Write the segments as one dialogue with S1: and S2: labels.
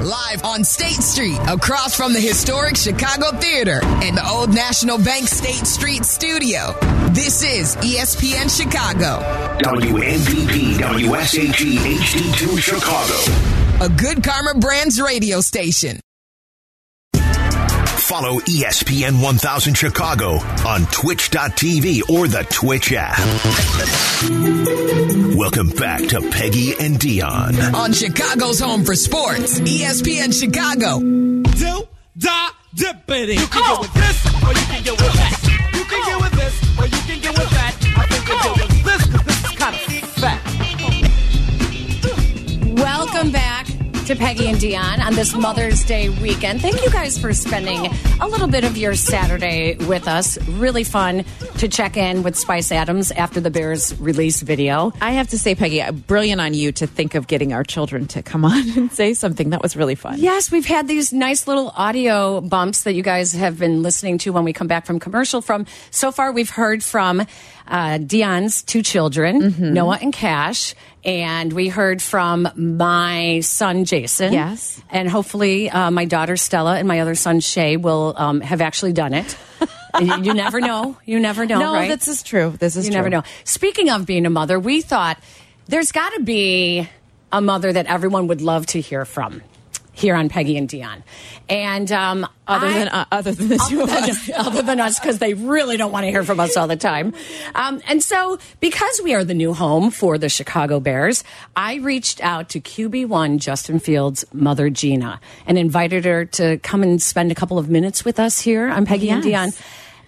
S1: Live on State Street, across from the historic Chicago Theater and the Old National Bank State Street Studio. This is E ESPN Chicago,
S2: WNPP, WSHE, HD2 Chicago.
S1: a Good Karma Brands radio station.
S2: Follow E ESPN 1000 Chicago on twitch.tv or the Twitch app. Welcome back to Peggy and Dion.
S1: On Chicago's home for sports, E ESPN Chicago.
S3: do da dippity. You can get with this, or you can get with that. You can get with this, or you can get with that. I think we'll get with this, because this is kind of fat.
S4: Welcome back to Peggy and Dion on this Mother's Day weekend. Thank you guys for spending a little bit of your Saturday with us. Really fun to check in with Spice Adams after the Bears release video.
S5: I have to say, Peggy, uh, brilliant on you to think of getting our children to come on and say something. That was really fun.
S4: Yes, we've had these nice little audio bumps that you guys have been listening to when we come back from commercial. From so far, we've heard from uh, Dion's two children,
S5: Mm-hmm.
S4: Noah and Cash, and we heard from my son Jason.
S5: Yes.
S4: and hopefully uh, my daughter Stella and my other son Shay will um, have actually done it. you, you never know. You never know.
S5: no,
S4: right?
S5: this is true. This is
S4: you
S5: true.
S4: never know. Speaking of being a mother, we thought there's got to be a mother that everyone would love to hear from here on Peggy and Dion, and um,
S5: Other
S4: I-
S5: than uh, other than the two of us.
S4: other than us because they really don't want to hear from us all the time. Um, and so, because we are the new home for the Chicago Bears, I reached out to QB1 Justin Fields' mother, Gina, and invited her to come and spend a couple of minutes with us here. I'm Peggy and Dion.
S5: Yes.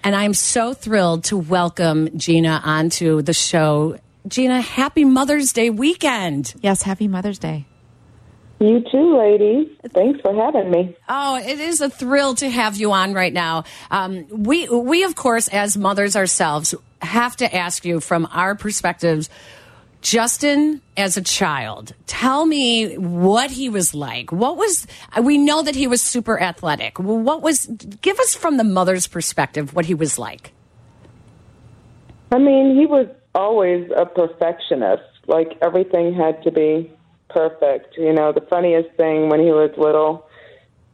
S4: And I'm so thrilled to welcome Gina onto the show. Gina, happy Mother's Day weekend.
S5: Yes, happy Mother's Day.
S6: You too, ladies. Thanks for having me.
S4: Oh, it is a thrill to have you on right now. Um, we, we of course, as mothers ourselves, have to ask you from our perspectives. Justin, as a child, tell me what he was like. What was we know that he was super athletic. What was? Give us from the mother's perspective what he was like.
S6: I mean, he was always a perfectionist. Like everything had to be perfect. You know, the funniest thing when he was little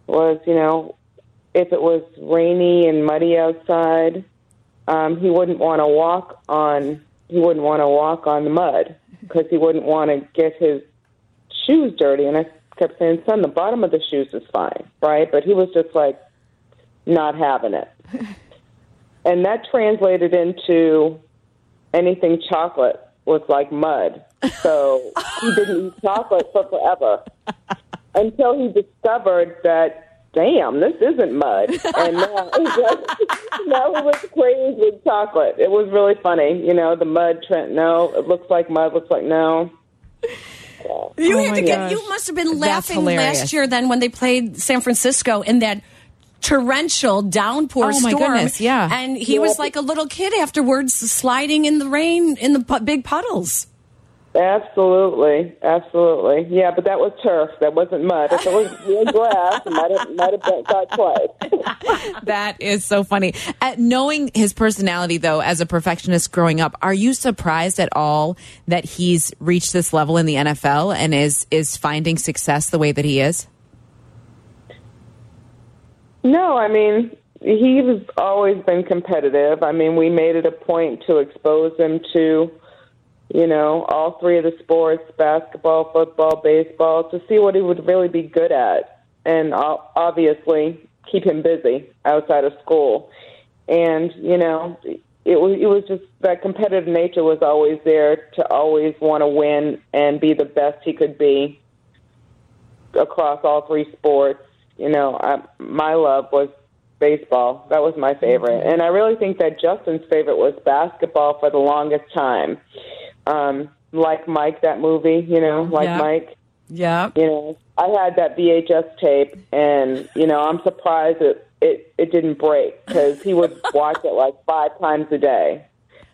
S6: was, you know, if it was rainy and muddy outside, um, he wouldn't want to walk on. He wouldn't want to walk on the mud because he wouldn't want to get his shoes dirty. And I kept saying, "Son, the bottom of the shoes is fine, right?" But he was just like not having it. and that translated into anything chocolate was like mud. So he didn't eat chocolate for forever until he discovered that, damn, this isn't mud. And now, now he was crazy with chocolate. It was really funny. You know, the mud trend, no, it looks like mud, looks like no.
S4: You
S5: Oh
S4: had
S5: my
S4: to get.
S5: gosh.
S4: You must have been
S5: That's
S4: laughing
S5: hilarious.
S4: last year. Then when they played San Francisco in that torrential downpour
S5: Oh my
S4: storm,
S5: goodness, yeah.
S4: and he was like a little kid afterwards, sliding in the rain in the pu- big puddles.
S6: Absolutely, absolutely. Yeah, but that was turf. That wasn't mud. If it was real glass, it might have, might have been got twice.
S5: That is so funny. At knowing his personality, though, as a perfectionist growing up, are you surprised at all that he's reached this level in the NFL and is is finding success the way that he is?
S6: No, I mean, he was always been competitive. I mean, we made it a point to expose him to, you know, all three of the sports basketball, football, baseball to see what he would really be good at. And o- obviously, keep him busy outside of school. And, you know, it was, it was just that competitive nature was always there to always want to win and be the best he could be across all three sports. You know, I, my love was baseball. That was my favorite, and I really think that Justin's favorite was basketball for the longest time. Um, like Mike, that movie. You know, like
S4: Yeah.
S6: Mike.
S4: Yeah.
S6: You know, I had that VHS tape, and you know, I'm surprised it it, it didn't break because he would watch it like five times a day,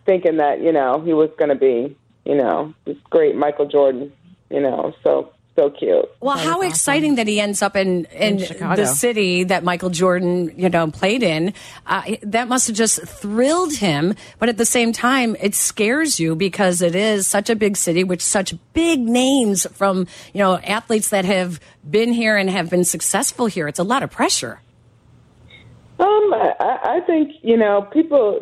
S6: thinking that you know he was going to be you know this great Michael Jordan. You know, so so cute.
S4: Well, how exciting that he ends up in in,
S5: Chicago.
S4: the city that Michael Jordan, you know, played in. Uh, that must have just thrilled him, but at the same time, it scares you because it is such a big city with such big names from you know athletes that have been here and have been successful here. It's a lot of pressure.
S6: Um, I- I, I think you know people.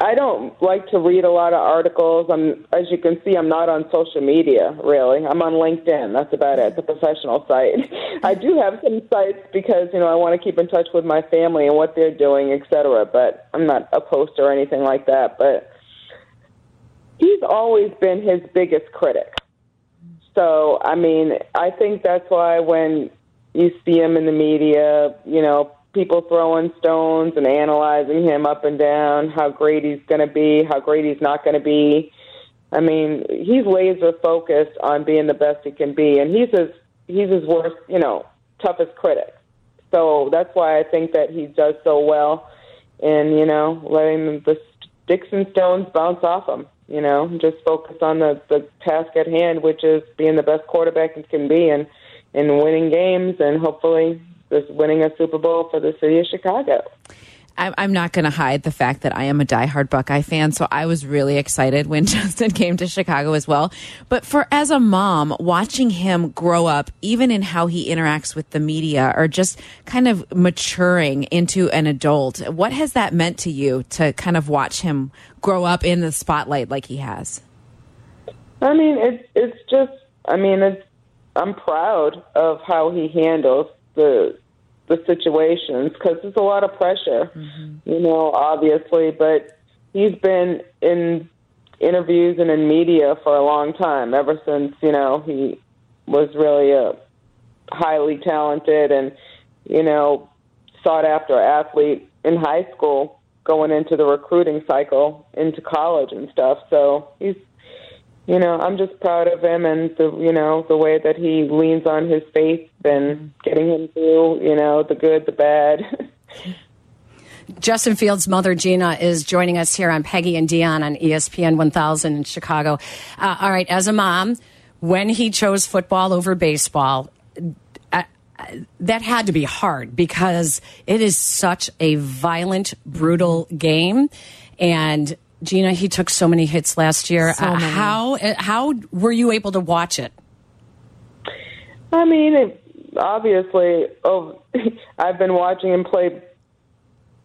S6: I don't like to read a lot of articles. I'm, as you can see, I'm not on social media really. I'm on LinkedIn. That's about it. It's a professional site. I do have some sites because you know I want to keep in touch with my family and what they're doing, et cetera. But I'm not a poster or anything like that. But he's always been his biggest critic. So, I mean, I think that's why when you see him in the media, you know, people throwing stones and analyzing him up and down, how great he's going to be, how great he's not going to be. I mean, he's laser focused on being the best he can be, and he's his he's his worst, you know, toughest critic. So that's why I think that he does so well, in you know, letting the sticks and stones bounce off him. You know, and just focus on the the task at hand, which is being the best quarterback he can be, and and winning games, and hopefully just winning a Super Bowl for the city of Chicago.
S5: I'm, I'm not going to hide the fact that I am a diehard Buckeye fan, so I was really excited when Justin came to Chicago as well. But for as a mom, watching him grow up, even in how he interacts with the media, or just kind of maturing into an adult, what has that meant to you to kind of watch him grow up in the spotlight like he has?
S6: I mean, it's it's just. I mean, it's. I'm proud of how he handles the the situations because it's a lot of pressure, you know, obviously. But he's been in interviews and in media for a long time, ever since you know he was really a highly talented and you know sought after athlete in high school, going into the recruiting cycle into college and stuff. So he's you know, I'm just proud of him and the you know the way that he leans on his faith and getting him through you know the good, the bad.
S4: Justin Fields' mother, Gina, is joining us here on Peggy and Dion on E ESPN 1000 in Chicago. Uh, all right, as a mom, when he chose football over baseball, uh, that had to be hard because it is such a violent, brutal game. And Gina, he took so many hits last year.
S5: So many.
S4: how uh, how were you able to watch it?
S6: I mean, it, obviously, oh, I've been watching him play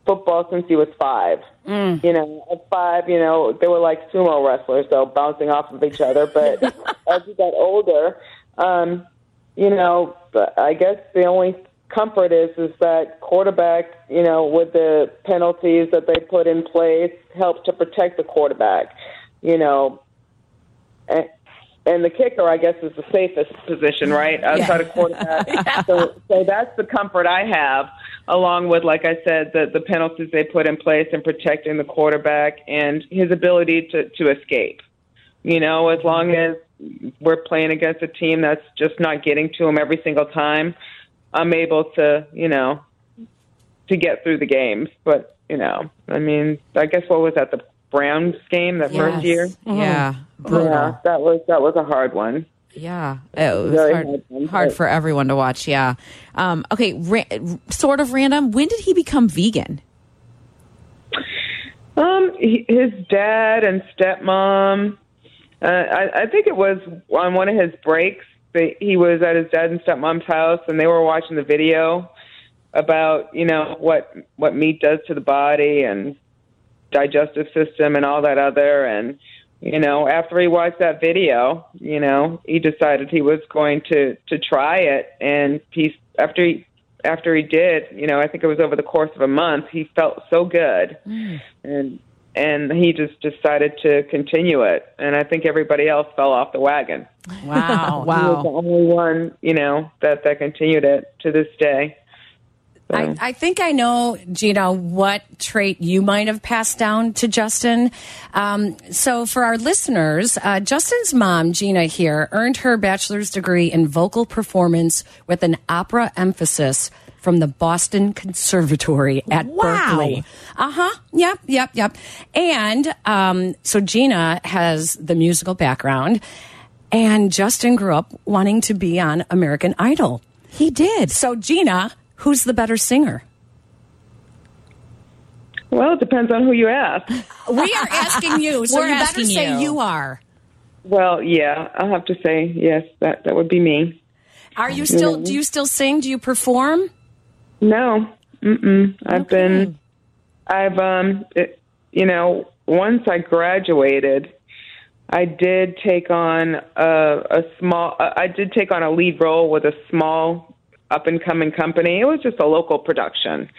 S6: football since he was five. You know, at five, you know, they were like sumo wrestlers, so bouncing off of each other. But as he got older, um, you know, but I guess the only comfort is is that quarterback, you know, with the penalties that they put in place, helps to protect the quarterback. You know, and, and the kicker, I guess, is the safest position, right? Outside of quarterback. so, so that's the comfort I have, along with, like I said, the, the penalties they put in place and protecting the quarterback and his ability to, to escape. You know, as long as we're playing against a team that's just not getting to him every single time, I'm able to, you know, to get through the games. But, you know, I mean, I guess what was that, the Browns game that first year? Oh.
S5: Yeah. Brutal.
S6: Yeah, that was that was a hard one.
S5: Yeah, it was
S6: Very
S5: hard,
S6: hard one,
S5: hard
S6: but-
S5: for everyone to watch. Yeah. Um, okay, ra- sort of random. When did he become vegan?
S6: Um, he, his dad and stepmom. Uh, I, I think it was on one of his breaks. That he was at his dad and stepmom's house, and they were watching the video about you know what what meat does to the body and digestive system and all that other and you know after he watched that video you know he decided he was going to to try it and he after he after he did you know i think it was over the course of a month he felt so good and and he just decided to continue it and i think everybody else fell off the wagon
S4: Wow.
S6: he was the only one you know that that continued it to this day
S4: I, I think I know, Gina, what trait you might have passed down to Justin. Um, so, for our listeners, uh, Justin's mom, Gina, here, earned her bachelor's degree in vocal performance with an opera emphasis from the Boston Conservatory at
S5: Wow.
S4: Berkeley. Uh huh. Yep. Yep. Yep. And um, so Gina has the musical background. And Justin grew up wanting to be on American Idol.
S5: He did.
S4: So, Gina, who's the better singer?
S6: Well, it depends on who you ask.
S4: We are asking you, so
S5: We're
S4: you better
S5: asking
S4: say
S5: you.
S4: you are.
S6: Well, yeah, I'll have to say yes. That that would be me.
S4: Are you still? Do you still sing? Do you perform?
S6: No, mm-mm. I've been, I've um, it, you know, once I graduated, I did take on a, a small. I I did take on a lead role with a small up and coming company. It was just a local production,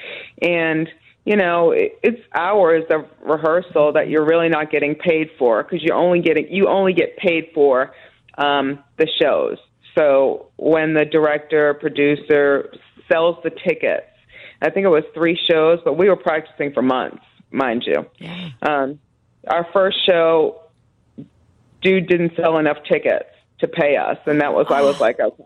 S6: and you know, it, it's hours of rehearsal that you're really not getting paid for because you only getting you only get paid for um, the shows. So when the director producer sells the tickets, I think it was three shows, but we were practicing for months, mind you. Um, our first show, dude didn't sell enough tickets to pay us, and that was I was like, okay.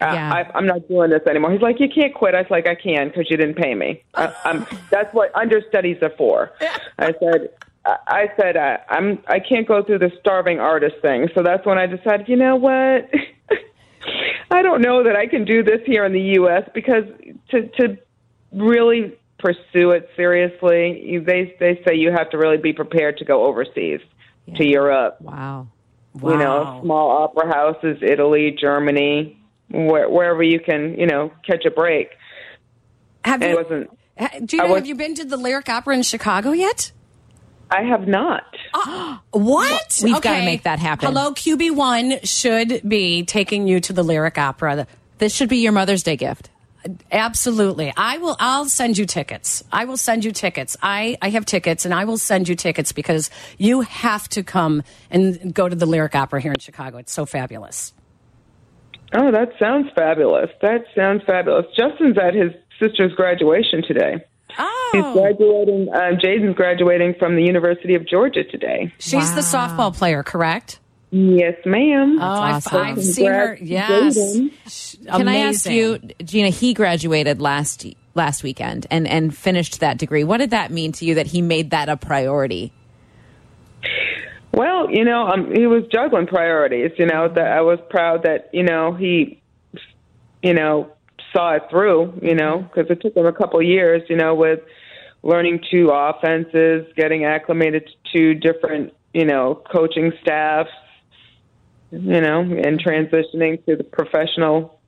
S6: I,
S5: Yeah.
S6: I, I'm not doing this anymore. He's like, you can't quit. I was like, I can because you didn't pay me. I, I'm, that's what understudies are for. I said, I I said, I, I'm, I can't go through the starving artist thing. So that's when I decided, you know what? I don't know that I can do this here in the U.S. because to to really pursue it seriously, you, they they say you have to really be prepared to go overseas to Europe
S5: Wow.
S6: you know, small opera houses, Italy, Germany, where, wherever you can, you know, catch a break.
S4: Have
S6: It
S4: you?
S6: wasn't.
S4: ha- do you
S6: I
S4: know,
S6: was-
S4: have you been to the Lyric Opera in Chicago yet?
S6: I have not.
S4: What?
S5: We've gotta make that happen.
S4: Hello, QB1 should be taking you to the Lyric Opera.
S5: This should be your Mother's Day gift.
S4: Absolutely. I will I'll send you tickets. I will send you tickets. I I have tickets and I will send you tickets because you have to come and go to the Lyric Opera here in Chicago. It's so fabulous.
S6: Oh, that sounds fabulous. That sounds fabulous. Justin's at his sister's graduation today. He's
S4: Oh.
S6: graduating. Um, Jaden's graduating from the University of Georgia today.
S4: She's the softball player, correct?
S6: Yes, ma'am.
S4: oh, I've,
S5: awesome.
S4: I've seen her. Yes.
S6: Congrats, Jaden.
S4: Sh-
S5: Can I ask
S4: amazing.
S5: you, Gina? He graduated last last weekend and and finished that degree. What did that mean to you that he made that a priority?
S6: Well, you know, um, he was juggling priorities. You know, that I was proud that you know he, you know, saw it through. You know, because it took him a couple years. You know, with learning two offenses, getting acclimated to different, you know, coaching staffs. You know, and transitioning to the professional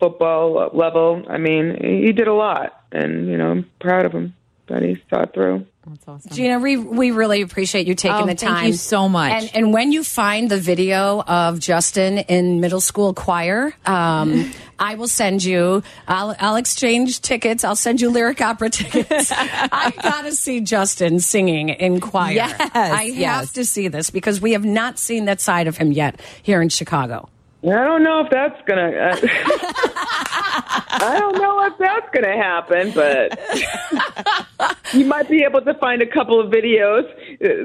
S6: football level. I mean, he did a lot, and you know, I'm proud of him that he saw it through.
S5: That's awesome.
S4: Gina, we, we really appreciate you taking
S5: Oh,
S4: the time.
S5: thank you so much.
S4: And, and when you find the video of Justin in middle school choir, um, I will send you. I'll, I'll exchange tickets. I'll send you lyric opera tickets. I gotta see Justin singing in choir.
S5: Yes,
S4: I have
S5: yes.
S4: to see this because we have not seen that side of him yet here in Chicago.
S6: I don't know if that's gonna. Uh, I don't know if that's gonna happen, but you might be able to find a couple of videos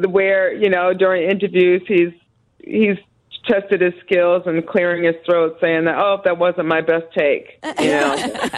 S6: uh, where you know during interviews he's he's tested his skills and clearing his throat, saying that oh that wasn't my best take, you know.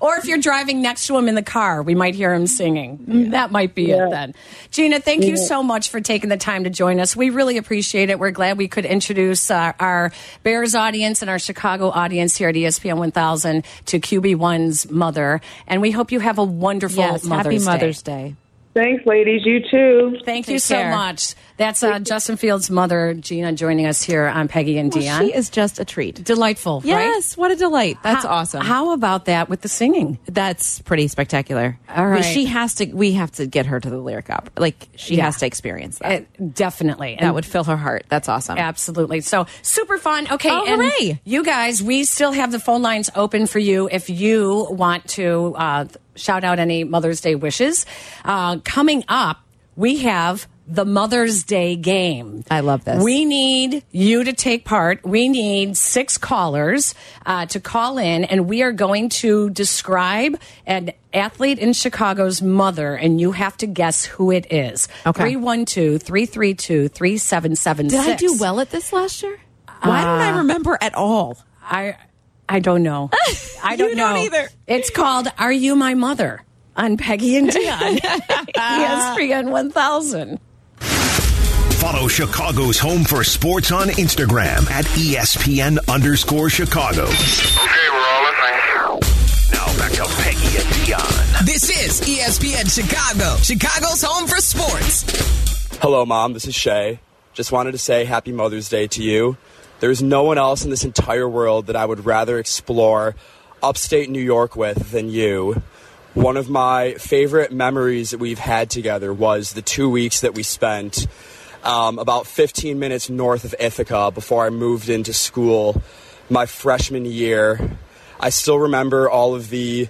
S4: Or if you're driving next to him in the car, we might hear him singing. Mm, That might be it then. Gina, thank you so much for taking the time to join us. We really appreciate it. We're glad we could introduce uh, our Bears audience and our Chicago audience here at E ESPN 1000 to QB1's mother. And we hope you have a wonderful
S5: yes,
S4: Mother's
S5: happy Mother's
S4: Day.
S5: Day.
S6: Thanks, ladies. You too.
S4: Thank
S5: Take
S4: you so
S5: care.
S4: much. That's uh, Justin Field's mother, Gina, joining us here on Peggy and
S5: Well,
S4: Dion.
S5: Oh, she is just a treat.
S4: Delightful, right?
S5: Yes, what a delight. That's
S4: How-
S5: awesome.
S4: How about that with the singing?
S5: That's pretty spectacular.
S4: All right.
S5: But she has to. We have to get her to the lyric opera. Like she
S4: Yeah.
S5: has to experience that.
S4: Uh, definitely.
S5: that
S4: And-
S5: would fill her heart. That's awesome.
S4: Absolutely. So super fun. Okay.
S5: Oh,
S4: and
S5: hooray.
S4: You guys, we still have the phone lines open for you if you want to uh, shout out any Mother's Day wishes. Uh, coming up, we have the Mother's Day game.
S5: I love this.
S4: We need you to take part. We need six callers uh, to call in, and we are going to describe an athlete in Chicago's mother, and you have to guess who it is.
S5: Okay.
S4: 312 332 3777.
S5: Did I do well at this last year? Why don't I remember at all?
S4: Uh, I I don't know. I don't
S5: You
S4: know
S5: don't either.
S4: It's called "Are You My Mother?" E on Peggy and Dion, ESPN 1000.
S2: Follow Chicago's Home for Sports on Instagram at E ESPN underscore Chicago.
S7: Okay, we're all listening.
S2: Now back to Peggy and Dion.
S1: This is E ESPN Chicago, Chicago's home for sports.
S8: Hello, Mom. This is Shay. Just wanted to say Happy Mother's Day to you. There is no one else in this entire world that I would rather explore upstate New York with than you. One of my favorite memories that we've had together was the two weeks that we spent um, about 15 minutes north of Ithaca before I moved into school my freshman year. I still remember all of the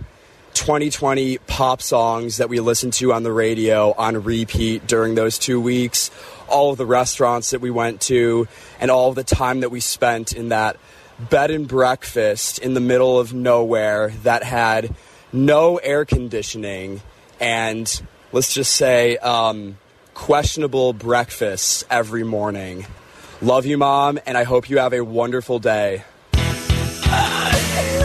S8: 2020 pop songs that we listened to on the radio on repeat during those two weeks, all of the restaurants that we went to, and all of the time that we spent in that bed and breakfast in the middle of nowhere that had no air conditioning and let's just say um, questionable breakfasts every morning. Love you, Mom, and I hope you have a wonderful day.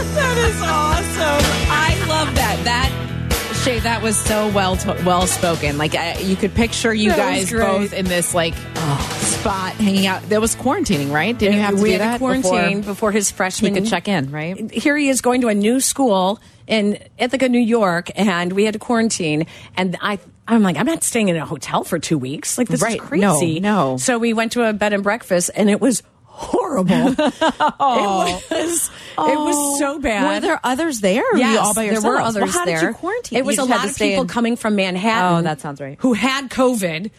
S5: That is awesome. I love that. That Shay, that was so well to- well spoken. Like I, you could picture you
S4: That was
S5: guys
S4: great.
S5: both in this like oh, spot hanging out. That was quarantining, right? Didn't you have to
S4: we
S5: do
S4: had
S5: that
S4: a quarantine before,
S5: before
S4: his
S5: he
S4: freshman
S5: could check in, right?
S4: here he is going to a new school in Ithaca, New York, and we had to quarantine. And I, I'm like, I'm not staying in a hotel for two weeks. Like this
S5: Right.
S4: is
S5: No,
S4: crazy.
S5: no.
S4: So we went to a bed and breakfast, and it was horrible. it was, it was so bad.
S5: Oh, Were there others there? Or were you all by yourself?
S4: There were others
S5: well, how
S4: there.
S5: Did you quarantine?
S4: It was
S5: You
S4: a
S5: just had
S4: lot
S5: to
S4: of
S5: stay
S4: people
S5: in-
S4: coming from Manhattan.
S5: Oh, that sounds right.
S4: Who had COVID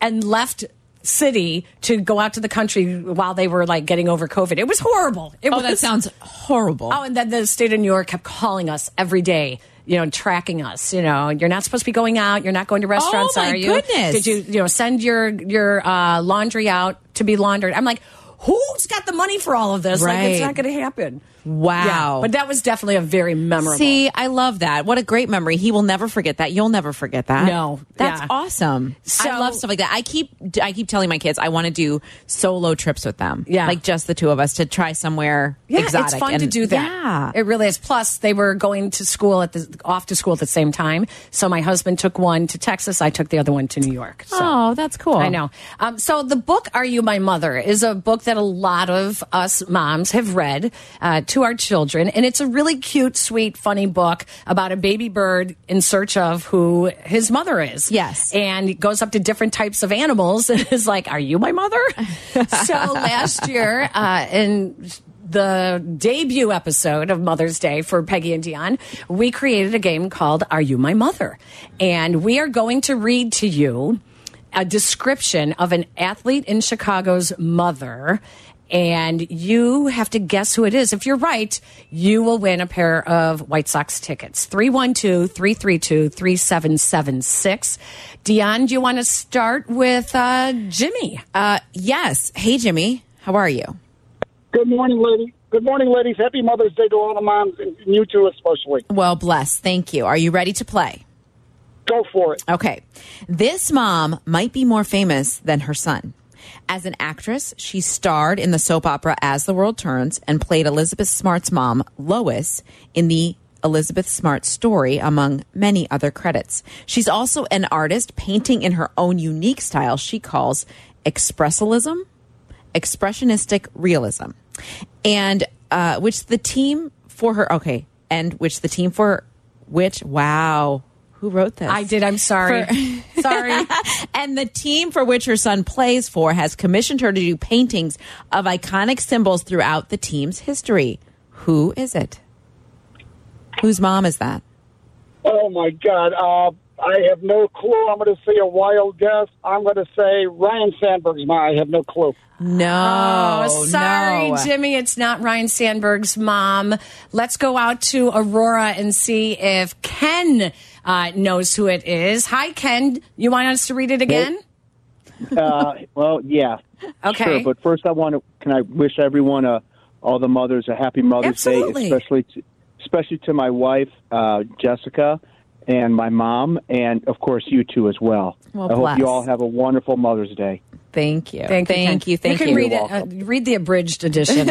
S4: and left city to go out to the country while they were like getting over COVID. It was horrible. It
S5: Oh,
S4: was,
S5: that sounds horrible.
S4: Oh, and then the state of New York kept calling us every day. You know, and tracking us. You know, you're not supposed to be going out. You're not going to restaurants.
S5: Oh my
S4: are you?
S5: goodness.
S4: Did you you know send your your uh, laundry out to be laundered? I'm like, who's got the money for all of this? Like, it's
S5: Right.
S4: not going to happen.
S5: Wow.
S4: Yeah, but that was definitely a very memorable.
S5: See, I love that. What a great memory. He will never forget that. You'll never forget that.
S4: No.
S5: That's
S4: Yeah.
S5: awesome. I
S4: So-
S5: love stuff like that. I keep I keep telling my kids I want to do solo trips with them.
S4: Yeah.
S5: Like just the two of us to try somewhere
S4: yeah,
S5: exotic.
S4: it's fun
S5: and-
S4: to do that.
S5: Yeah.
S4: It really is. Plus, they were going to school at the off to school at the same time. So my husband took one to Texas. I took the other one to New York. So.
S5: Oh, that's cool.
S4: I know. Um, so the book "Are You My Mother" is a book that a lot of us moms have read uh, to our children, and it's a really cute, sweet, funny book about a baby bird in search of who his mother is.
S5: Yes.
S4: and he goes up to different types of animals and is like, "Are you my mother?" so last year, uh, in the debut episode of Mother's Day for Peggy and Dion, we created a game called Are You My Mother? And we are going to read to you a description of an athlete in Chicago's mother. And you have to guess who it is. If you're right, you will win a pair of White Sox tickets. 312 332 3776. Dion, do you want to start with uh, Jimmy?
S5: Uh, yes. Hey, Jimmy. How are you?
S9: Good morning, lady. Good morning, ladies. Happy Mother's Day to all the moms, and you two especially.
S5: Well, blessed. Thank you. Are you ready to play?
S9: Go for it.
S5: Okay. This mom might be more famous than her son. As an actress, she starred in the soap opera As the World Turns and played Elizabeth Smart's mom, Lois, in the Elizabeth Smart story, among many other credits. She's also an artist painting in her own unique style she calls expressionism, expressionistic realism, and uh, which the team for her, okay, and which the team for which, wow. Who wrote this?
S4: I did. I'm sorry. sorry.
S5: and the team for which her son plays for has commissioned her to do paintings of iconic symbols throughout the team's history. Who is it? Whose mom is that?
S9: Oh my God, uh, I have no clue. I'm going to say a wild guess. I'm going to say Ryan Sandberg's mom. I have no clue.
S5: No.
S4: Oh, sorry,
S5: no.
S4: Jimmy. It's not Ryan Sandberg's mom. Let's go out to Aurora and see if Ken uh, knows who it is. Hi, Ken. You want us to read it again?
S10: uh, well, yeah.
S4: Okay.
S10: Sure, but first I want to can I wish everyone uh, all the mothers a happy Mother's
S4: Absolutely.
S10: Day, especially to, especially to my wife uh, Jessica and my mom, and of course you two as well.
S5: Well,
S10: I hope
S5: bless.
S10: you all have a wonderful Mother's Day.
S5: Thank you.
S4: Thank you.
S5: Thank
S4: Ken.
S5: you. Thank
S4: you.
S5: you.
S4: can read it. Uh, read the abridged edition.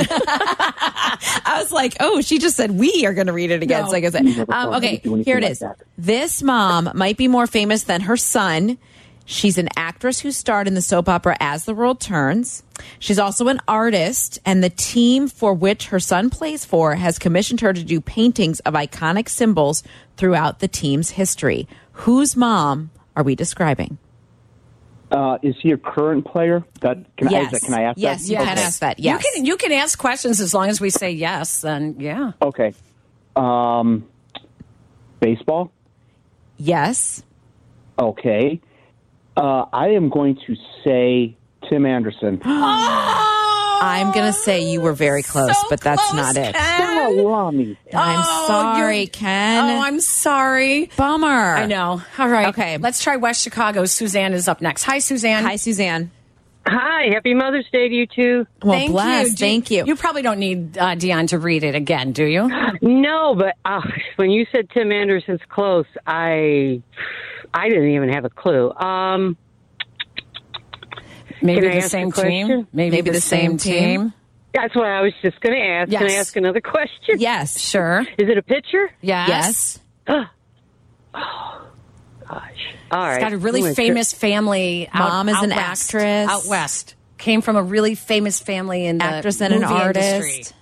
S5: I was like, oh, she just said we are going to read it again.
S4: No.
S5: So I guess
S10: Never
S5: um,
S10: thought
S5: okay,
S10: I'd do anything
S5: here it
S10: like
S5: is.
S10: that.
S5: This mom might be more famous than her son. She's an actress who starred in the soap opera As the World Turns. She's also an artist, and the team for which her son plays for has commissioned her to do paintings of iconic symbols throughout the team's history. Whose mom are we describing?
S10: Uh, is he a current player? That can I, is that, can I ask
S5: Yes,
S10: that?
S5: you can
S10: Okay.
S5: ask that. Yes.
S4: You can you can ask questions as long as we say yes, then yeah.
S10: Okay. Um, baseball.
S5: Yes.
S10: Okay. Uh, I am going to say Tim Anderson.
S5: I'm going to say you were very close,
S4: Oh, So
S5: but that's
S4: close,
S5: not it.
S4: Ken. Oh,
S10: Salami.
S5: I'm sorry,
S4: you're-
S5: Ken.
S4: Oh, I'm sorry.
S5: Bummer.
S4: I know. All right.
S5: Okay.
S4: Let's try West Chicago. Suzanne is up next. Hi, Suzanne.
S5: Hi, Suzanne.
S11: Hi, happy Mother's Day to you too.
S5: Well,
S4: Thank
S5: bless.
S4: you. Do
S5: Thank you.
S4: You probably don't need uh, Dion to read it again, do you?
S11: No, but uh, when you said Tim Anderson's close, I I didn't even have a clue. Um,
S4: Maybe
S11: Can I
S4: the
S11: ask a
S4: same
S11: question?
S4: team. Maybe, the, same team.
S11: that's what I was just going to ask. Can I
S4: Yes.
S11: ask another question?
S5: yes.
S4: Sure.
S11: Is it a picture?
S4: Yes.
S5: Yes.
S11: Oh, All right.
S4: It's got a really
S11: I'm gonna-
S4: famous family. out-
S5: Mom is
S4: out
S5: an
S4: west,
S5: actress.
S4: Out west. Came from a really famous family in the
S5: Actress and an
S4: movie
S5: artist.
S4: industry.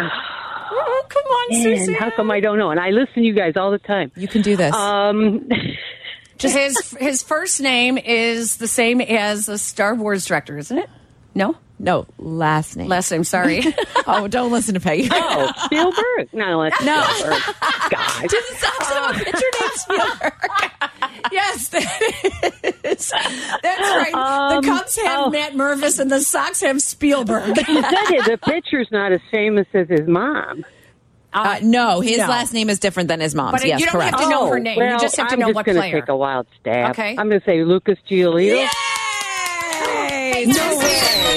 S4: Oh, come on,
S11: Man,
S4: Suzanne.
S11: how come I don't know? And I listen to you guys all the time.
S5: You can do this.
S11: Um,
S4: Just his his first name is the same as the Star Wars director, isn't it? No,
S5: no, last name.
S4: last name. Sorry.
S5: oh, don't listen to Peggy.
S11: oh, Spielberg. No, that's
S5: No.
S11: Spielberg. God.
S4: yes, that is. That's right.
S11: Um,
S4: the Cubs have
S11: oh.
S4: Matt Mervis, and the Sox have Spielberg.
S11: You said it, the picture's not as famous as his mom.
S5: Uh, no, his
S4: No.
S5: last name is different than his mom's.
S4: But uh,
S5: yes,
S4: you don't
S5: correct.
S4: have to know
S11: Oh,
S4: her name.
S11: Well,
S4: you just have to
S11: I'm
S4: know
S11: just
S4: what
S11: gonna
S4: player.
S11: take a wild stab.
S4: Okay.
S11: I'm going to say Lucas Giolito.
S4: Yay!
S5: No way.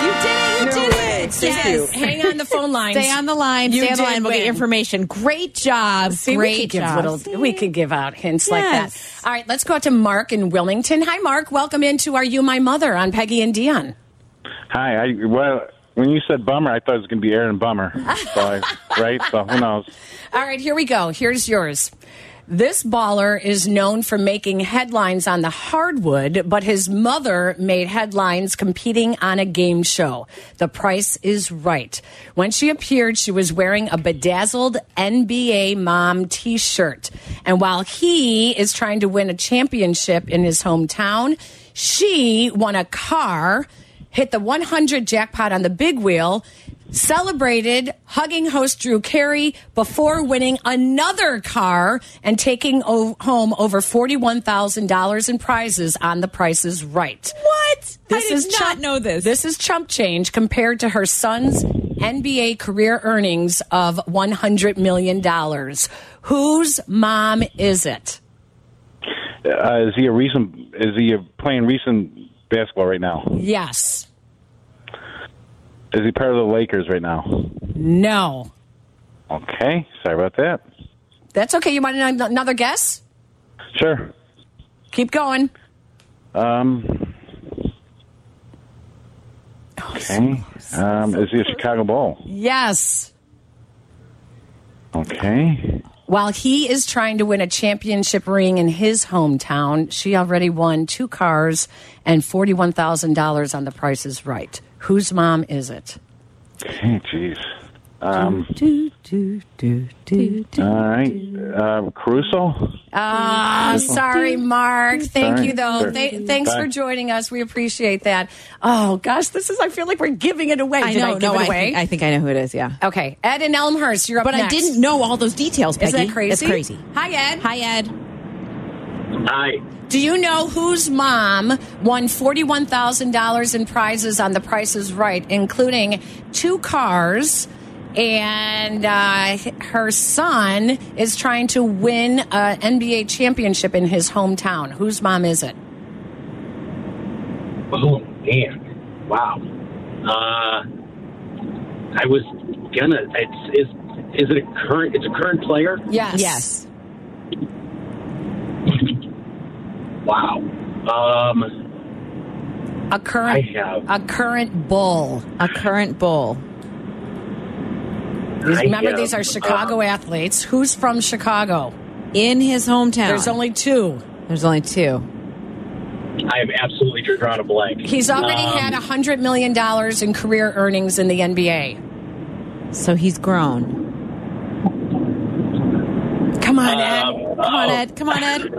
S5: You did it. You
S11: No
S5: did
S11: way.
S5: it.
S11: Thank
S5: Yes.
S11: you.
S4: Hang on the phone line.
S5: Stay on the line.
S4: You
S5: Stay on the
S4: did
S5: line. We'll get
S4: win.
S5: your information. Great job.
S4: See,
S5: Great
S4: we could give
S5: job.
S4: little, we could give out hints like
S5: Yes.
S4: that. All right, let's go out to Mark in Wilmington. Hi, Mark. Welcome into Are You My Mother on Peggy and Dion.
S12: Hi. I, well, when you said bummer, I thought it was going to be Aaron Bummer. So I, right? So who knows?
S4: All right, here we go. Here's yours. This baller is known for making headlines on the hardwood, but his mother made headlines competing on a game show. The price is right. When she appeared, she was wearing a bedazzled NBA mom t shirt. And while he is trying to win a championship in his hometown, she won a car hit the 100 jackpot on the big wheel, celebrated hugging host Drew Carey before winning another car and taking o- home over $41,000 in prizes on the prices right.
S5: What? I did not
S4: chump-
S5: know this.
S4: This is chump change compared to her son's NBA career earnings of $100 million. Whose mom is it?
S12: Uh, is he a recent? Is he playing recent basketball right now?
S4: Yes.
S12: Is he part of the Lakers right now?
S4: No.
S12: Okay. Sorry about that.
S4: That's okay. You want an- another guess?
S12: Sure.
S4: Keep going.
S12: Um. Okay. Um, is he a Chicago Bull?
S4: Yes.
S12: Okay.
S4: While he is trying to win a championship ring in his hometown, she already won two cars and $41,000 on the Price is Right. Whose mom is it?
S12: Okay. Jeez. Um, all right. Um, Caruso.
S4: Ah, sorry, Mark. Thank
S12: Sorry.
S4: you, though.
S12: Sure.
S4: Th- thanks
S12: Bye.
S4: for joining us. We appreciate that. Oh, gosh, this is, I feel like we're giving it away.
S5: I
S4: Did
S5: know.
S4: I give
S5: no,
S4: it
S5: I
S4: away?
S5: think, I think I know who it is. Yeah.
S4: okay. Ed and Elmhurst, you're up
S5: But I
S4: next.
S5: didn't know all those details, Peggy.
S4: Is that crazy?
S5: That's crazy.
S4: Hi, Ed.
S5: Hi, Ed.
S9: Hi.
S4: Do you know whose mom won $41,000 in prizes on The Price is Right, including two cars? And uh, her son is trying to win an NBA championship in his hometown. Whose mom is it?
S13: Oh, man. Wow. Uh, I was gonna. It's, is is it a current? It's a current player.
S4: Yes.
S5: Yes.
S13: Wow. Um,
S4: A current,
S13: I have-
S4: a current bull.
S5: A current bull.
S13: I
S4: Remember,
S13: have,
S4: these are Chicago
S13: uh,
S4: athletes. Who's from Chicago?
S5: In his hometown.
S4: There's only two.
S5: There's only two.
S13: I have absolutely drawn a blank.
S4: He's already
S13: Um,
S4: had a hundred million dollars in career earnings in the NBA.
S5: So he's grown. Come on, Ed.
S13: um,
S5: Come
S4: Oh.
S5: on, Ed. Come on, Ed.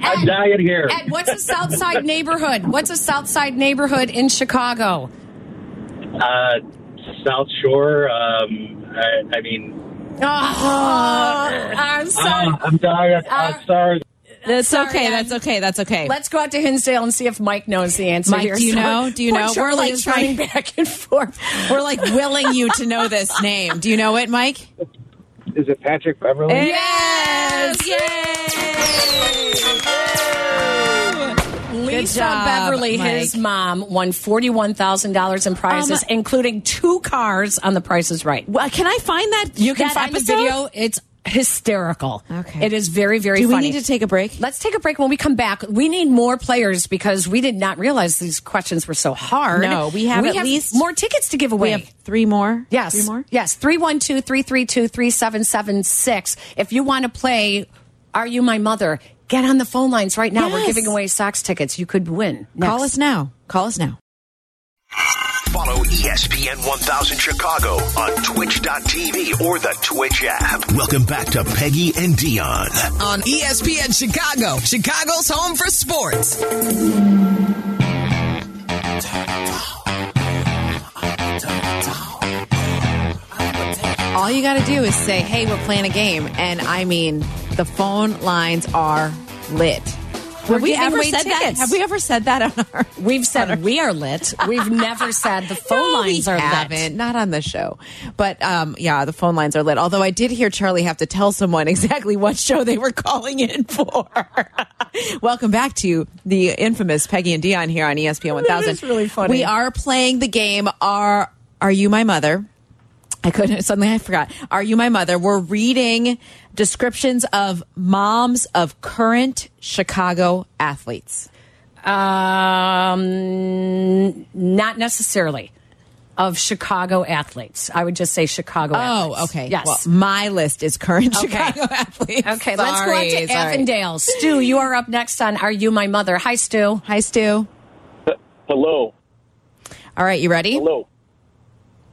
S13: I'm dying here.
S4: Ed, what's a South Side neighborhood? What's a South Side neighborhood in Chicago?
S13: Uh, South Shore. Um, I, I mean,
S4: Oh, I'm sorry.
S13: uh, I'm dying. I'm sorry.
S5: That's okay. That's okay. That's okay.
S4: Let's go out to Hinsdale and see if Mike knows the answer.
S5: Mike,
S4: here.
S5: do you
S4: So,
S5: know? Do you
S4: poor
S5: know? We're
S4: Charlie
S5: like
S4: is running
S5: trying-
S4: back and forth.
S5: We're like willing you to know this name. Do you know it, Mike?
S14: Is it Patrick Beverly?
S5: Yes!
S4: Lisa
S5: job,
S4: Beverly, his mom, won forty-one thousand dollars in prizes,
S5: Um,
S4: including two cars on The Price Is Right.
S5: Well, can I find that?
S4: You can
S5: that
S4: find
S5: episode?
S4: the video. It's hysterical.
S5: Okay.
S4: It is very, very
S5: Do we
S4: funny.
S5: need to take a break?
S4: Let's take a break. When we come back, we need more players because we did not realize these questions were so hard.
S5: No, we have at least-
S4: more tickets to give away.
S5: We have three more.
S4: Yes.
S5: Three more?
S4: Yes. 312 332 3776. If you want to play Are You My Mother, get on the phone lines right now. We're
S5: Yes.
S4: giving away Sox tickets. You could win.
S5: Call us now. Call us now.
S2: Follow E ESPN 1000 Chicago on twitch.tv or the Twitch app. Welcome back to Peggy and Dion.
S1: On E ESPN Chicago, Chicago's home for sports.
S5: All you got to do is say, hey, we're playing a game. And I mean, the phone lines are lit.
S4: We're
S5: Have we
S4: giving
S5: ever
S4: away
S5: said that?
S4: tickets.
S5: Have we ever said that on our
S4: We've said we are lit. We've never said the phone
S5: No,
S4: lines
S5: we
S4: are
S5: haven't.
S4: lit.
S5: Not on the show, but um, yeah, the phone lines are lit. Although I did hear Charlie have to tell someone exactly what show they were calling in for. Welcome back to the infamous Peggy and Dion here on E ESPN One Thousand.
S4: is really funny.
S5: We are playing the game. Are Are you my mother? I couldn't. Suddenly, I forgot. Are you my mother? We're reading descriptions of moms of current Chicago athletes.
S4: Um, not necessarily of Chicago athletes. I would just say Chicago athletes.
S5: Oh, okay.
S4: Yes.
S5: Well, my list is current
S4: Okay.
S5: Chicago athletes.
S4: Okay, let's go out
S5: Sorry,
S4: to
S5: sorry.
S4: Avondale. Stu, you are up next on Are You My Mother? Hi, Stu.
S5: Hi, Stu.
S14: Hello.
S5: All right, you ready?
S14: Hello.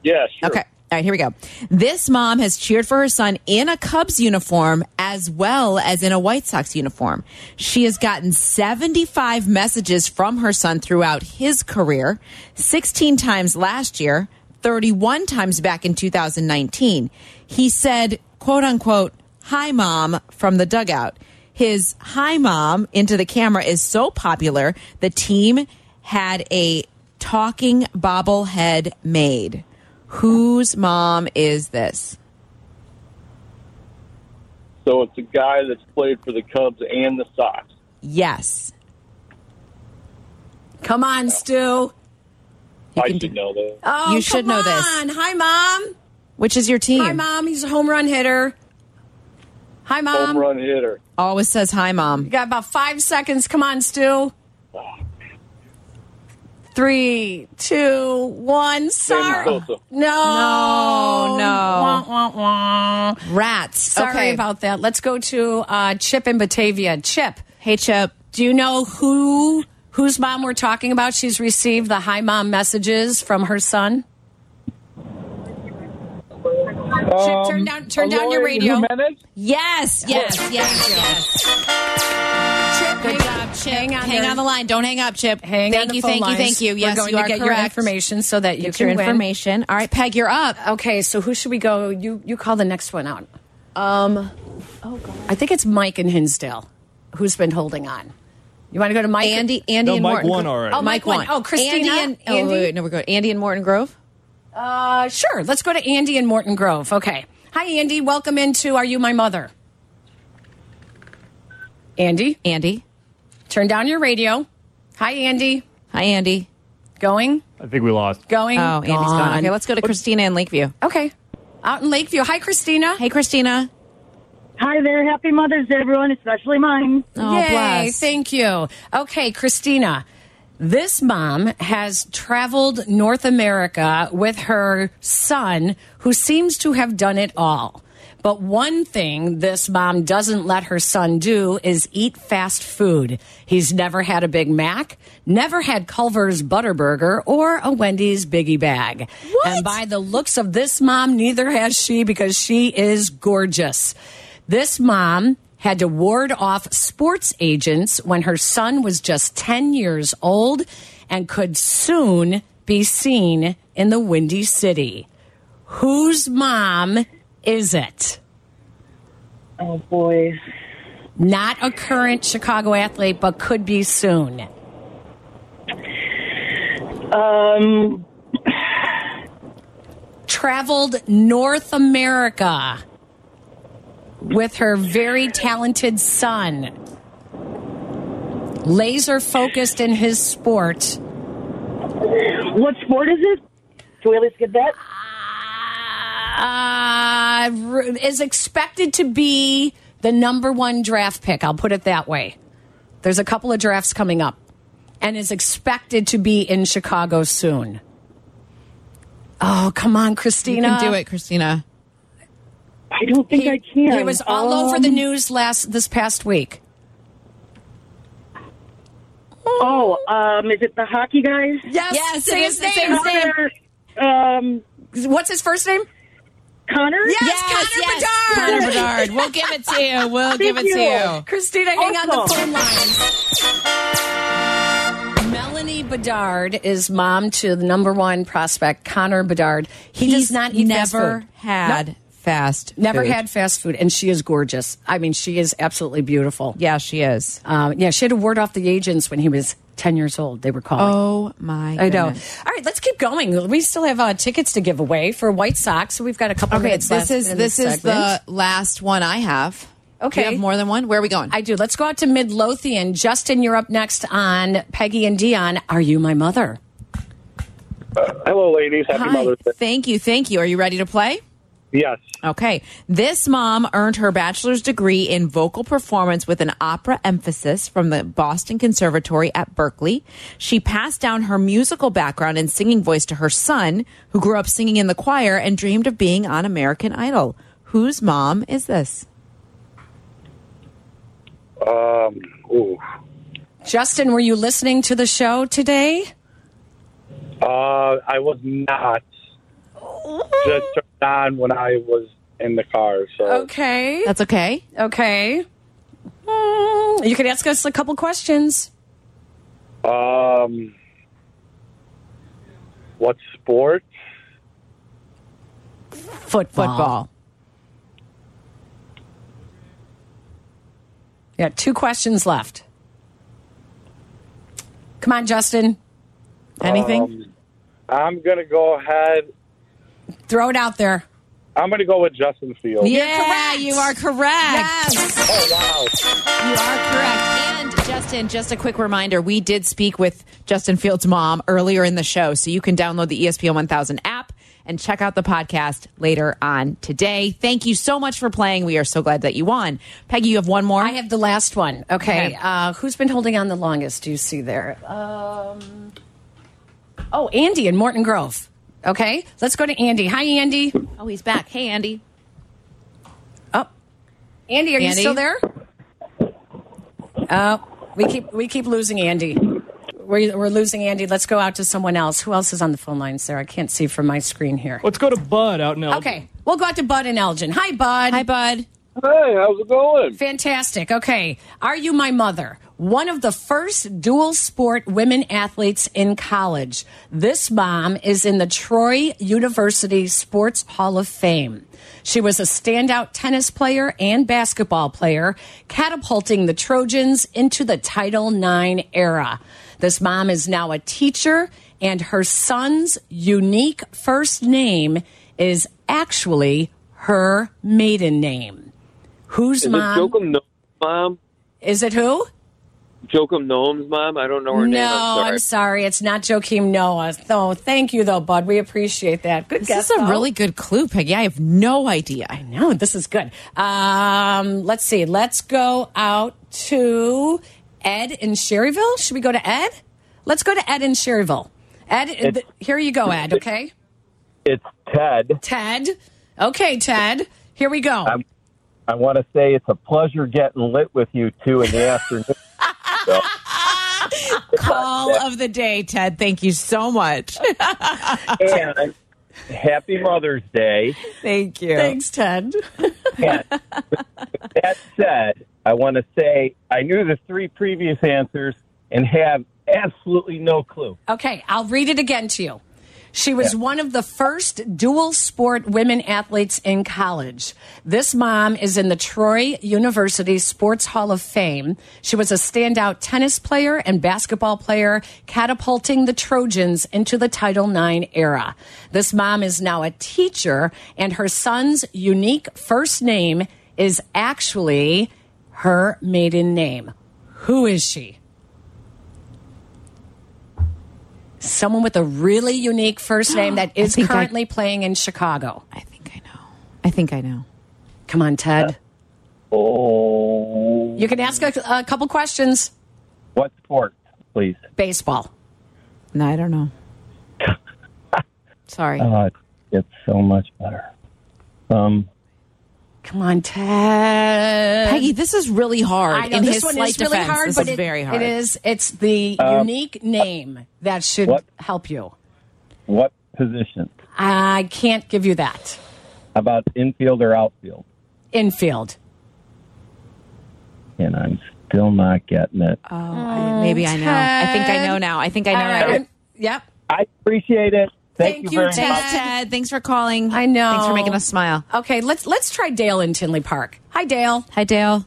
S14: Yes.
S5: Okay. All right, here we go. This mom has cheered for her son in a Cubs uniform as well as in a White Sox uniform. She has gotten 75 messages from her son throughout his career, 16 times last year, 31 times back in 2019. He said, quote unquote, hi mom from the dugout. His hi mom into the camera is so popular, the team had a talking bobblehead made. Whose mom is this?
S15: So it's a guy that's played for the Cubs and the Sox.
S5: Yes.
S4: Come on, Stu.
S15: I should know that.
S4: Oh,
S5: You
S4: come
S5: should know this.
S4: on. Hi, mom.
S5: Which is your team?
S4: Hi, mom. He's a home run hitter. Hi, mom.
S15: Home run hitter.
S5: Always says hi,
S4: You
S5: mom.
S4: got about five seconds. Come on, Stu. Three, two, one. Sorry. No.
S15: Sosa.
S5: No, no.
S4: Wah, wah, wah.
S5: Rats.
S4: Sorry
S5: okay.
S4: about that. Let's go to uh, Chip in Batavia. Chip,
S5: Hey, Chip.
S4: do you know who whose mom we're talking about? She's received the hi mom messages from her son. Chip, turn down, turn down your radio.
S5: Yes, yes, yes, yes.
S4: Chip,
S5: Good
S4: hang,
S5: job, Chip.
S4: Hang on,
S5: hang
S4: there.
S5: on the line. Don't hang up, Chip.
S4: Hang
S5: thank
S4: on the
S5: you,
S4: phone
S5: thank you,
S4: lines.
S5: thank you.
S4: We're
S5: Yes,
S4: going
S5: you
S4: to
S5: are
S4: get
S5: correct.
S4: your information so that you
S5: Get
S4: can
S5: your
S4: win.
S5: information. All right, Peg, you're up.
S4: Okay, so who should we go? You you call the next one out. Um, I think it's Mike and Hinsdale, who's been holding on. You want to go to Mike?
S5: Andy, Andy,
S16: No,
S5: and
S16: Mike
S5: Morton.
S16: won already.
S4: Oh, Mike won. Oh, Christina,
S5: Andy and oh,
S4: Andy?
S5: wait, wait, no, we're going. Andy and Morton Grove.
S4: Uh, sure. Let's go to Andy and Morton Grove. Okay. Hi, Andy. Welcome into Are You My Mother? Andy.
S5: Andy.
S4: Turn down your radio. Hi, Andy.
S5: Hi, Andy.
S4: Going,
S16: I think we lost.
S4: going.
S5: Oh, Andy's gone. Okay, let's go to Christina in Lakeview.
S4: Okay. Out in Lakeview. Hi, Christina.
S5: Hey, Christina.
S17: Hi there. Happy Mother's Day, everyone, especially mine.
S5: Oh,
S4: Yay,
S5: bless.
S4: thank you. Okay, Christina. This mom has traveled North America with her son, who seems to have done it all. But one thing this mom doesn't let her son do is eat fast food. He's never had a Big Mac, never had Culver's Butterburger, or a Wendy's Biggie Bag. And by the looks of this mom, neither has she because she is gorgeous. This mom had to ward off sports agents when her son was just 10 years old and could soon be seen in the Windy City. Whose mom is it?
S17: Oh, boy.
S4: Not a current Chicago athlete, but could be soon. Um, traveled North America with her very talented son. Laser focused in his sport.
S17: What sport is it? Do we at least get that?
S4: Uh, is expected to be the number one draft pick. I'll put it that way. There's a couple of drafts coming up and is expected to be in Chicago soon. Oh, come on, Christina.
S5: You can do it, Christina.
S17: I don't think I can.
S4: It was all over the
S17: Um,
S4: news last this past week.
S17: Oh, um, is it the hockey guy?
S4: Yes, Yes, it same is the name. same
S17: Um,
S4: name. What's his first name?
S17: Connor.
S4: Yes,
S5: Yes,
S4: Connor
S5: yes,
S4: Bedard.
S5: Connor Bedard. We'll give it to you. We'll
S4: Thank
S5: give it to you.
S4: Christina, hang on the
S5: Awesome.
S4: phone line. Melanie Bedard is mom to the number one prospect, Connor Bedard. He
S5: He's
S4: does not eat fast
S5: never
S4: food.
S5: had
S4: Nope.
S5: fast.
S4: Never
S5: food.
S4: had fast food, and she is gorgeous. I mean, she is absolutely beautiful.
S5: Yeah, she is.
S4: Um, yeah, she had to ward off the agents when he was ten years old. They were calling.
S5: Oh my!
S4: I know.
S5: goodness.
S4: All right, let's keep going. We still have uh, tickets to give away for White Sox, so we've got a couple.
S5: Okay,
S4: minutes
S5: this
S4: left
S5: is
S4: in
S5: this is
S4: segment.
S5: the last one I have. Do
S4: Okay.
S5: you have more than one? Where are we going?
S4: I do. Let's go out to Midlothian. Justin, you're up next on Peggy and Dion. Are you my mother?
S14: Hello, ladies. Happy
S5: Hi.
S14: Mother's Day.
S5: Thank you. Thank you. Are you ready to play?
S14: Yes.
S5: Okay. This mom earned her bachelor's degree in vocal performance with an opera emphasis from the Boston Conservatory at Berkeley. She passed down her musical background and singing voice to her son, who grew up singing in the choir and dreamed of being on American Idol. Whose mom is this?
S14: Um, ooh.
S4: Justin, were you listening to the show today?
S14: Uh, I was not just turned on when I was in the car. So
S4: Oh, Okay.
S5: That's okay.
S4: Okay. Mm, You could ask us a couple questions.
S14: Um, what sport?
S4: Football.
S5: Football.
S4: Yeah, two questions left. Come on, Justin.
S5: Anything?
S14: Um, I'm gonna go ahead.
S4: Throw it out there.
S14: I'm gonna go with Justin Fields.
S5: yeah, you are correct.
S14: Oh wow.
S5: You are correct. And Justin, just a quick reminder we did speak with Justin Fields' mom earlier in the show. So you can download the E ESPN 1000 app and check out the podcast later on today. Thank you so much for playing. We are so glad that you won. Peggy, you have one more?
S4: I have the last one. Okay.
S5: Okay.
S4: Uh, who's been holding on the longest? Do you see there? Um, oh, Andy in Morton Grove. Okay. Let's go to Andy. Hi, Andy.
S5: Oh, he's back. Hey, Andy.
S4: Andy, are you
S5: Andy?
S4: still there? Uh, we keep we keep losing Andy. We're, we're losing Andy. Let's go out to someone else. Who else is on the phone lines there? I can't see from my screen here.
S16: Let's go to Bud out now.
S4: Okay. We'll go out to Bud and Elgin. Hi, Bud. Hi,
S5: Bud.
S16: Hey, how's it going?
S4: Fantastic. Okay. Are you my mother? One of the first dual sport women athletes in college. This mom is in the Troy University Sports Hall of Fame. She was a standout tennis player and basketball player, catapulting the Trojans into the Title IX era. This mom is now a teacher, and her son's unique first name is actually her maiden name. Whose
S18: Is
S4: mom?
S18: it Joakim Noam's mom?
S4: Is it who?
S18: Joakim Noam's mom? I don't know her
S4: no,
S18: name. I'm sorry.
S4: I'm sorry. It's not Joakim Noah. No, thank you though, Bud. We appreciate that. Good
S5: This
S4: guess.
S5: is a
S4: though.
S5: really good clue, Peggy. I have no idea. I
S4: know. This is good. Um, let's see. Let's go out to Ed in Sherryville. Should we go to Ed? Let's go to Ed in Sherryville. Ed, th- here you go, Ed. Okay,
S14: It's Ted.
S4: Ted. Okay, Ted. Here we go.
S8: I, I want to say it's a pleasure getting lit with you two in the afternoon. So,
S5: Call of the day, Ted. Thank you so much.
S8: and happy Mother's Day.
S5: Thank you. Thanks, Ted.
S8: That said, I want to say I knew the three previous answers and have absolutely no clue.
S4: Okay, I'll read it again to you. She was one of the first dual sport women athletes in college. This mom is in the Troy University Sports Hall of Fame. She was a standout tennis player and basketball player, catapulting the Trojans into the Title IX era. This mom is now a teacher, and her son's unique first name is actually her maiden name. Who is she? Someone with a really unique first name that is
S5: think I-
S4: currently playing in Chicago.
S5: I think I know.
S4: Come on, Ted.
S8: Oh,
S4: You can ask a, a couple questions.
S8: what sport, please?
S4: Baseball.
S5: No, I don't know. Sorry.
S8: Oh, it's so much better. Um,
S4: Come on, Ted.
S5: Peggy, this is really hard.
S4: I know
S5: In
S4: this
S5: his
S4: one
S5: slight
S4: is really
S5: defense,
S4: hard,
S5: this
S4: but
S5: is
S4: it-
S5: very hard. Uh,
S4: it is. It's the
S8: Um,
S4: unique name that should
S8: what?
S4: help you.
S8: what position?
S4: I can't give you that.
S8: How about infield or outfield?
S4: Infield.
S8: And I'm still not getting it.
S5: Oh, I, maybe I know. I think I know now. I think I know. now.
S4: Yep.
S8: I appreciate it. Thank, you, very
S5: Ted.
S8: much.
S5: Ted. Thanks for calling.
S4: I know.
S5: Thanks for making us smile.
S4: Okay, let's let's try Dale in Tinley Park. Hi, Dale.
S5: Hi, Dale.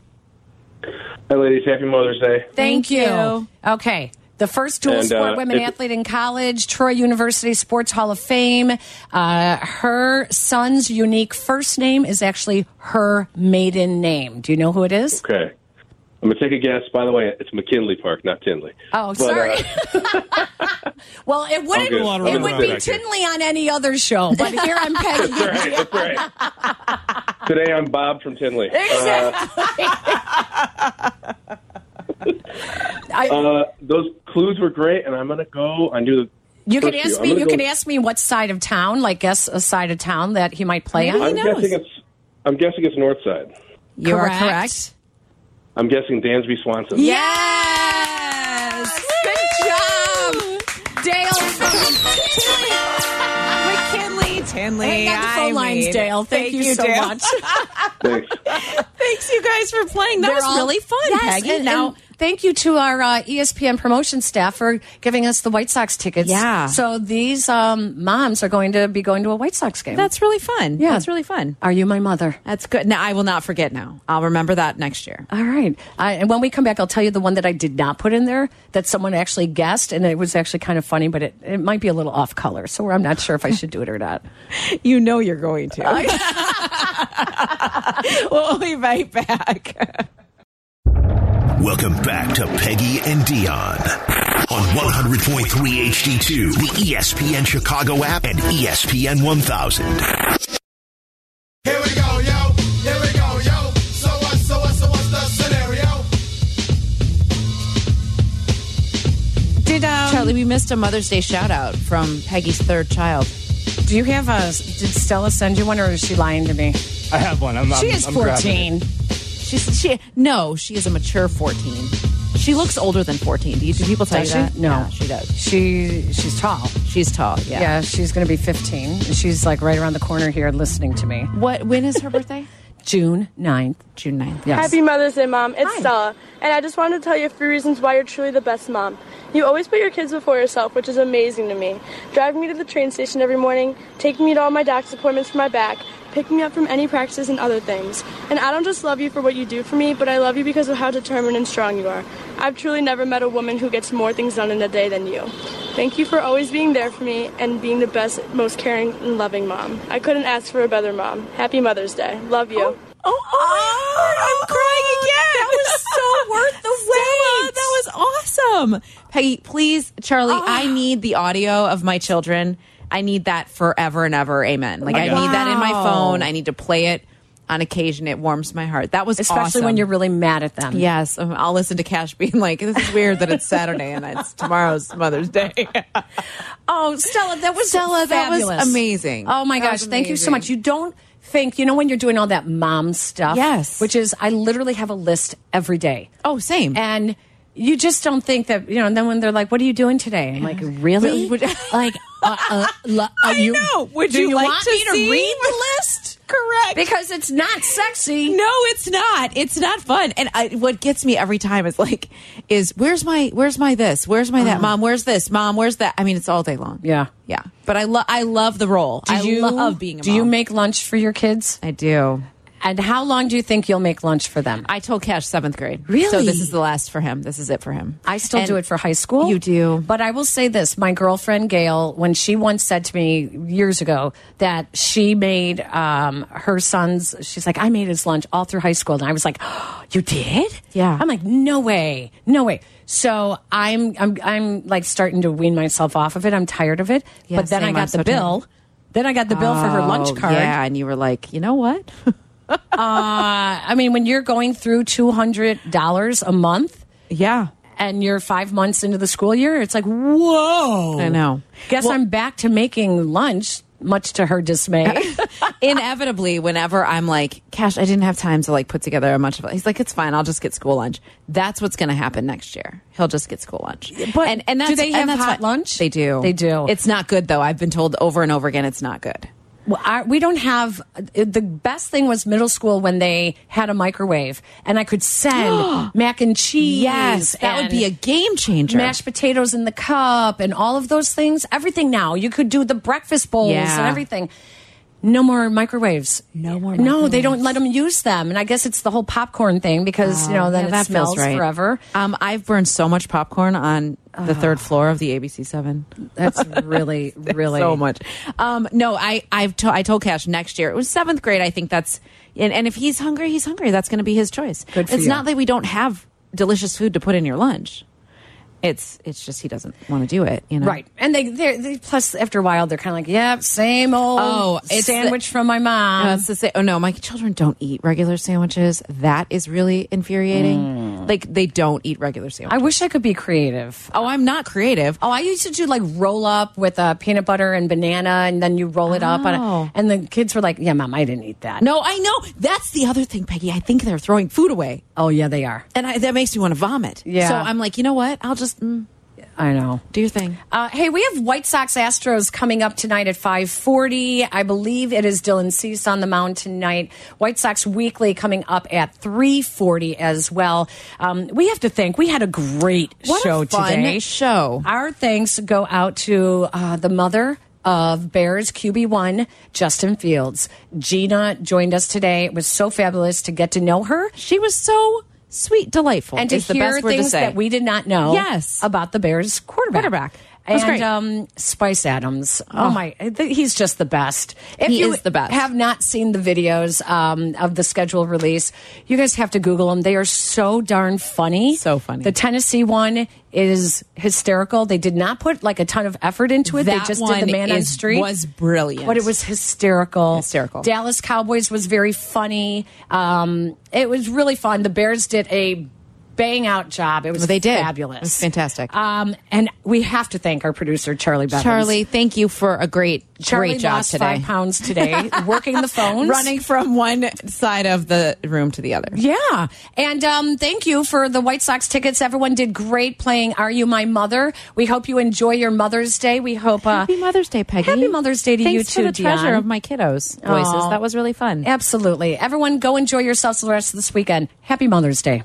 S14: Hi, ladies. Happy Mother's Day.
S4: Thank,
S5: Thank
S4: you.
S5: you.
S4: Okay. The first dual
S14: And,
S4: sport
S14: uh,
S4: women
S14: it-
S4: athlete in college, Troy University Sports Hall of Fame. Uh, her son's unique first name is actually her maiden name. Do you know who it is?
S14: Okay. I'm going to take a guess. By the way, it's McKinley Park, not Tinley.
S4: Oh,
S14: But,
S4: sorry.
S14: uh,
S4: well, it wouldn't.
S14: good. A lot of
S4: It
S14: room
S4: would
S14: out
S4: be
S14: there.
S4: Tinley on any other show, but here I'm Peggy.
S14: today I'm Bob from Tinley. Uh, uh, those clues were great, and I'm going to go. I knew the.
S4: You can
S14: first
S4: ask
S14: few.
S4: me.
S14: I'm
S4: You
S14: gonna
S4: can
S14: go-
S4: ask me what side of town, like guess a side of town that he might play on.
S14: I'm guessing it's. I'm guessing it's Northside.
S4: You
S5: are
S4: correct.
S14: I'm guessing Dansby Swanson.
S4: Yes. Good job, Dale from
S5: McKinley. Tinley.
S4: Hang on the
S5: I
S4: phone lines,
S5: mean-
S4: Dale. Thank, you, so
S5: Dale.
S4: much.
S14: Thanks.
S5: Thanks, you guys, for playing. That
S4: They're
S5: was
S4: all-
S5: really fun,
S4: Yes,
S5: Peggy.
S4: and-
S5: now,
S4: and thank you to our uh, ESPN promotion staff for giving us the White Sox tickets.
S5: Yeah.
S4: So these um, moms are going to be going to a White Sox game.
S5: that's really fun.
S4: Yeah.
S5: That's really fun.
S4: Are you my mother?
S5: That's good. Now, I will not forget now. I'll remember that next year.
S4: All right. I, and when we come back, I'll tell you the one that I did not put in there that someone actually guessed, and it was actually kind of funny, but it, it might be a little off color. So I'm not sure if I should do it or not.
S5: You know you're going to. we'll be right back.
S2: Welcome back to Peggy and Dion on 100.3 HD2, the E ESPN Chicago app and E ESPN 1000.
S3: Here we go, yo. Here we go, yo. So what, so what, so what's the scenario?
S5: Did um, Charlie? We missed a Mother's Day shout out from Peggy's third child.
S4: Do you have a. Did Stella send you one, or is she lying to me?
S19: I have one. I'm
S4: she
S19: I'm-
S4: is
S19: I'm grabbing it.
S4: 14.
S5: She's she no, she is a mature fourteen. She looks older than fourteen. Do, you, do people tell
S4: Does
S5: you
S4: she?
S5: that?
S4: No.
S5: Yeah, she does.
S4: She She's tall.
S5: She's tall. Yeah.
S4: Yeah, she's going to be 15. She's like right around the corner here listening to me.
S5: What? When is her birthday?
S4: June 9th.
S5: June 9th.
S4: Yes.
S6: Happy Mother's Day, Mom. It's Stella, and I just wanted to tell you three reasons why you're truly the best mom. You always put your kids before yourself, which is amazing to me. Driving me to the train station every morning, taking me to all my doc's appointments for my back, picking me up from any practices and other things. And I don't just love you for what you do for me, but I love you because of how determined and strong you are. I've truly never met a woman who gets more things done in a day than you. Thank you for always being there for me and being the best, most caring, and loving mom. I couldn't ask for a better mom. Happy Mother's Day. Love you.
S5: Oh, I'm crying again. That was so
S4: oh,
S5: worth the wait. That was awesome. Peggy, please, Charlie,
S4: Ah.
S5: I need the audio of my children. I need that forever and ever. Amen. Like, I
S4: Wow.
S5: need that in my phone. I need to play it on occasion, it warms my heart. That was
S4: Especially when you're really mad at them.
S5: Yes, um, I'll listen to Cash being like, "This is weird that it's Saturday and it's tomorrow's Mother's Day."
S4: Oh, Stella, that was
S5: Stella, that was
S4: fabulous.
S5: amazing.
S4: Oh my
S5: That
S4: gosh,
S5: was
S4: thank you so
S5: amazing.
S4: much. You don't think you know when you're doing all that mom stuff.
S5: Yes.
S4: which is I literally have a list every day.
S5: Oh, same.
S4: And you just don't think that you know. And then when they're like, "What are you doing today?" I'm like, "Really?
S5: Would-
S4: like, uh, uh, lo- uh, you,
S5: know. Would
S4: do
S5: you
S4: you,
S5: like
S4: want
S5: to
S4: me
S5: see?
S4: to read the list?"
S5: Correct.
S4: Because it's not sexy.
S5: No, it's not. It's not fun. And I, what gets me every time is like, is where's my where's my this? Where's my that? Mom, where's this? Mom, where's that? I mean, it's all day long.
S4: Yeah.
S5: Uh-huh. yeah. But I love I love the role.
S4: Do
S5: I
S4: you
S5: love being. A
S4: Do
S5: mom.
S4: you make lunch for your kids?
S5: I do.
S4: And how long do you think you'll make lunch for them?
S5: I told Cash seventh grade. So
S4: Really?
S5: this is the last for him. This is it for him.
S4: I still
S5: And-
S4: do it for high school.
S5: You do.
S4: But I will say this my girlfriend Gail, when she once said to me years ago that she made um, her son's, she's like, I made his lunch all through high school. And I was like, oh, You did?
S5: Yeah.
S4: I'm like, No way. No way. So I'm, I'm, I'm like starting to wean myself off of it. I'm tired of it.
S5: Yeah,
S4: but then I
S5: same. I'm
S4: got the
S5: so tired.
S4: bill. Then I got the bill for her lunch
S5: Oh,
S4: card.
S5: Yeah, and you were like, you know what?
S4: Uh, I mean, when you're going through $200 a month,
S5: Yeah.
S4: and you're five months into the school year, it's like, whoa.
S5: I know.
S4: Guess
S5: Well-
S4: I'm back to making lunch, much to her dismay.
S5: Inevitably, whenever I'm like, Cash, I didn't have time to like put together a much of it. He's like, it's fine. I'll just get school lunch. That's what's going to happen next year. He'll just get school lunch.
S4: but
S5: and, and
S4: do
S5: that's,
S4: they
S5: and
S4: have
S5: that's
S4: hot
S5: fine.
S4: lunch?
S5: They do.
S4: They do.
S5: It's not good though. I've been told over and over again, it's not good.
S4: Well, I, we don't have the best thing was middle school when they had a microwave and I could send mac and cheese.
S5: that would
S4: and
S5: be a game changer.
S4: Mashed potatoes in the cup and all of those things. Everything now. You could do the breakfast bowls and
S5: Yeah.
S4: everything. No more microwaves.
S5: No more
S4: No, they
S5: microwaves.
S4: don't let them use them. And I guess it's the whole popcorn thing because, you know, then
S5: Yeah,
S4: it
S5: that feels
S4: smells
S5: right.
S4: forever.
S5: Um, I've burned so much popcorn on the third floor of the ABC Seven.
S4: That's really, really
S5: so much. Um, no, I I've to, I told Cash next year it was seventh grade. I think that's and, and if he's hungry, he's hungry. That's going to be his choice.
S4: Good for
S5: it's
S4: you.
S5: not that we don't have delicious food to put in your lunch. It's it's just he doesn't want to do it. You know,
S4: Right, and they they they plus after a while they're kind of like, yep, same old
S5: Oh, it's the-
S4: sandwich from my mom.
S5: No, it's the same. Oh no, my children don't eat regular sandwiches. That is really infuriating. Like they don't eat regular
S4: I
S5: sandwiches.
S4: wish I could be creative.
S5: oh, I'm not creative.
S4: Oh, I used to do like roll up with uh, peanut butter and banana, and then you roll it up, and,
S5: Oh.
S4: and the kids were like, "Yeah, mom, I didn't eat that."
S5: No, I know. That's the other thing, Peggy. I think they're throwing food away,
S4: oh yeah, they are.
S5: and I, that makes me want to vomit.
S4: Yeah.
S5: So I'm like, you know what? I'll just mm,
S4: I know.
S5: do your thing.
S4: Uh, hey, we have White Sox Astros coming up tonight at 5:40. I believe it is Dylan Cease on the mound tonight. White Sox Weekly coming up at 3:40 as well. Um, we have to think we had a great
S5: What a
S4: show
S5: fun
S4: today.
S5: show.
S4: Our thanks go out to uh, the mother of Bears QB1, Justin Fields. Gina joined us today. It was so fabulous to get to know her
S5: She was so sweet, delightful,
S4: and to
S5: is the
S4: hear
S5: best word
S4: things
S5: to say.
S4: that we did not know.
S5: Yes.
S4: about the Bears quarterback.
S5: Quarterback. That was
S4: And
S5: great.
S4: um, Spice Adams. Oh, my, th- he's just the best. If
S5: He
S4: you
S5: is the best.
S4: Have not seen the videos um, of the schedule release. You guys have to Google them. They are so darn funny.
S5: So funny.
S4: The Tennessee one is hysterical. They did not put like a ton of effort into it.
S5: That
S4: they just
S5: one
S4: did the man on
S5: is-
S4: street
S5: was brilliant.
S4: but it was hysterical.
S5: Hysterical.
S4: Dallas Cowboys was very funny. Um, it was really fun. The Bears did a bang out job. It was
S5: Well, they did.
S4: fabulous.
S5: It was fantastic.
S4: Um, and we have to thank our producer Charlie Bevins.
S5: Charlie, thank you for a great,
S4: Charlie
S5: great job
S4: lost
S5: today.
S4: five pounds today, working the phones,
S5: running from one side of the room to the other.
S4: Yeah. And um, thank you for the White Sox tickets. Everyone did great playing Are You My Mother? We hope you enjoy your Mother's Day. We hope. Uh,
S5: Happy Mother's Day, Peggy.
S4: Happy Mother's Day to
S5: Thanks
S4: you
S5: for
S4: too,
S5: the treasure
S4: Dion.
S5: of my kiddos' voices.
S4: Aw.
S5: That was really fun.
S4: Absolutely. Everyone, go enjoy yourselves the rest of this weekend. Happy Mother's Day.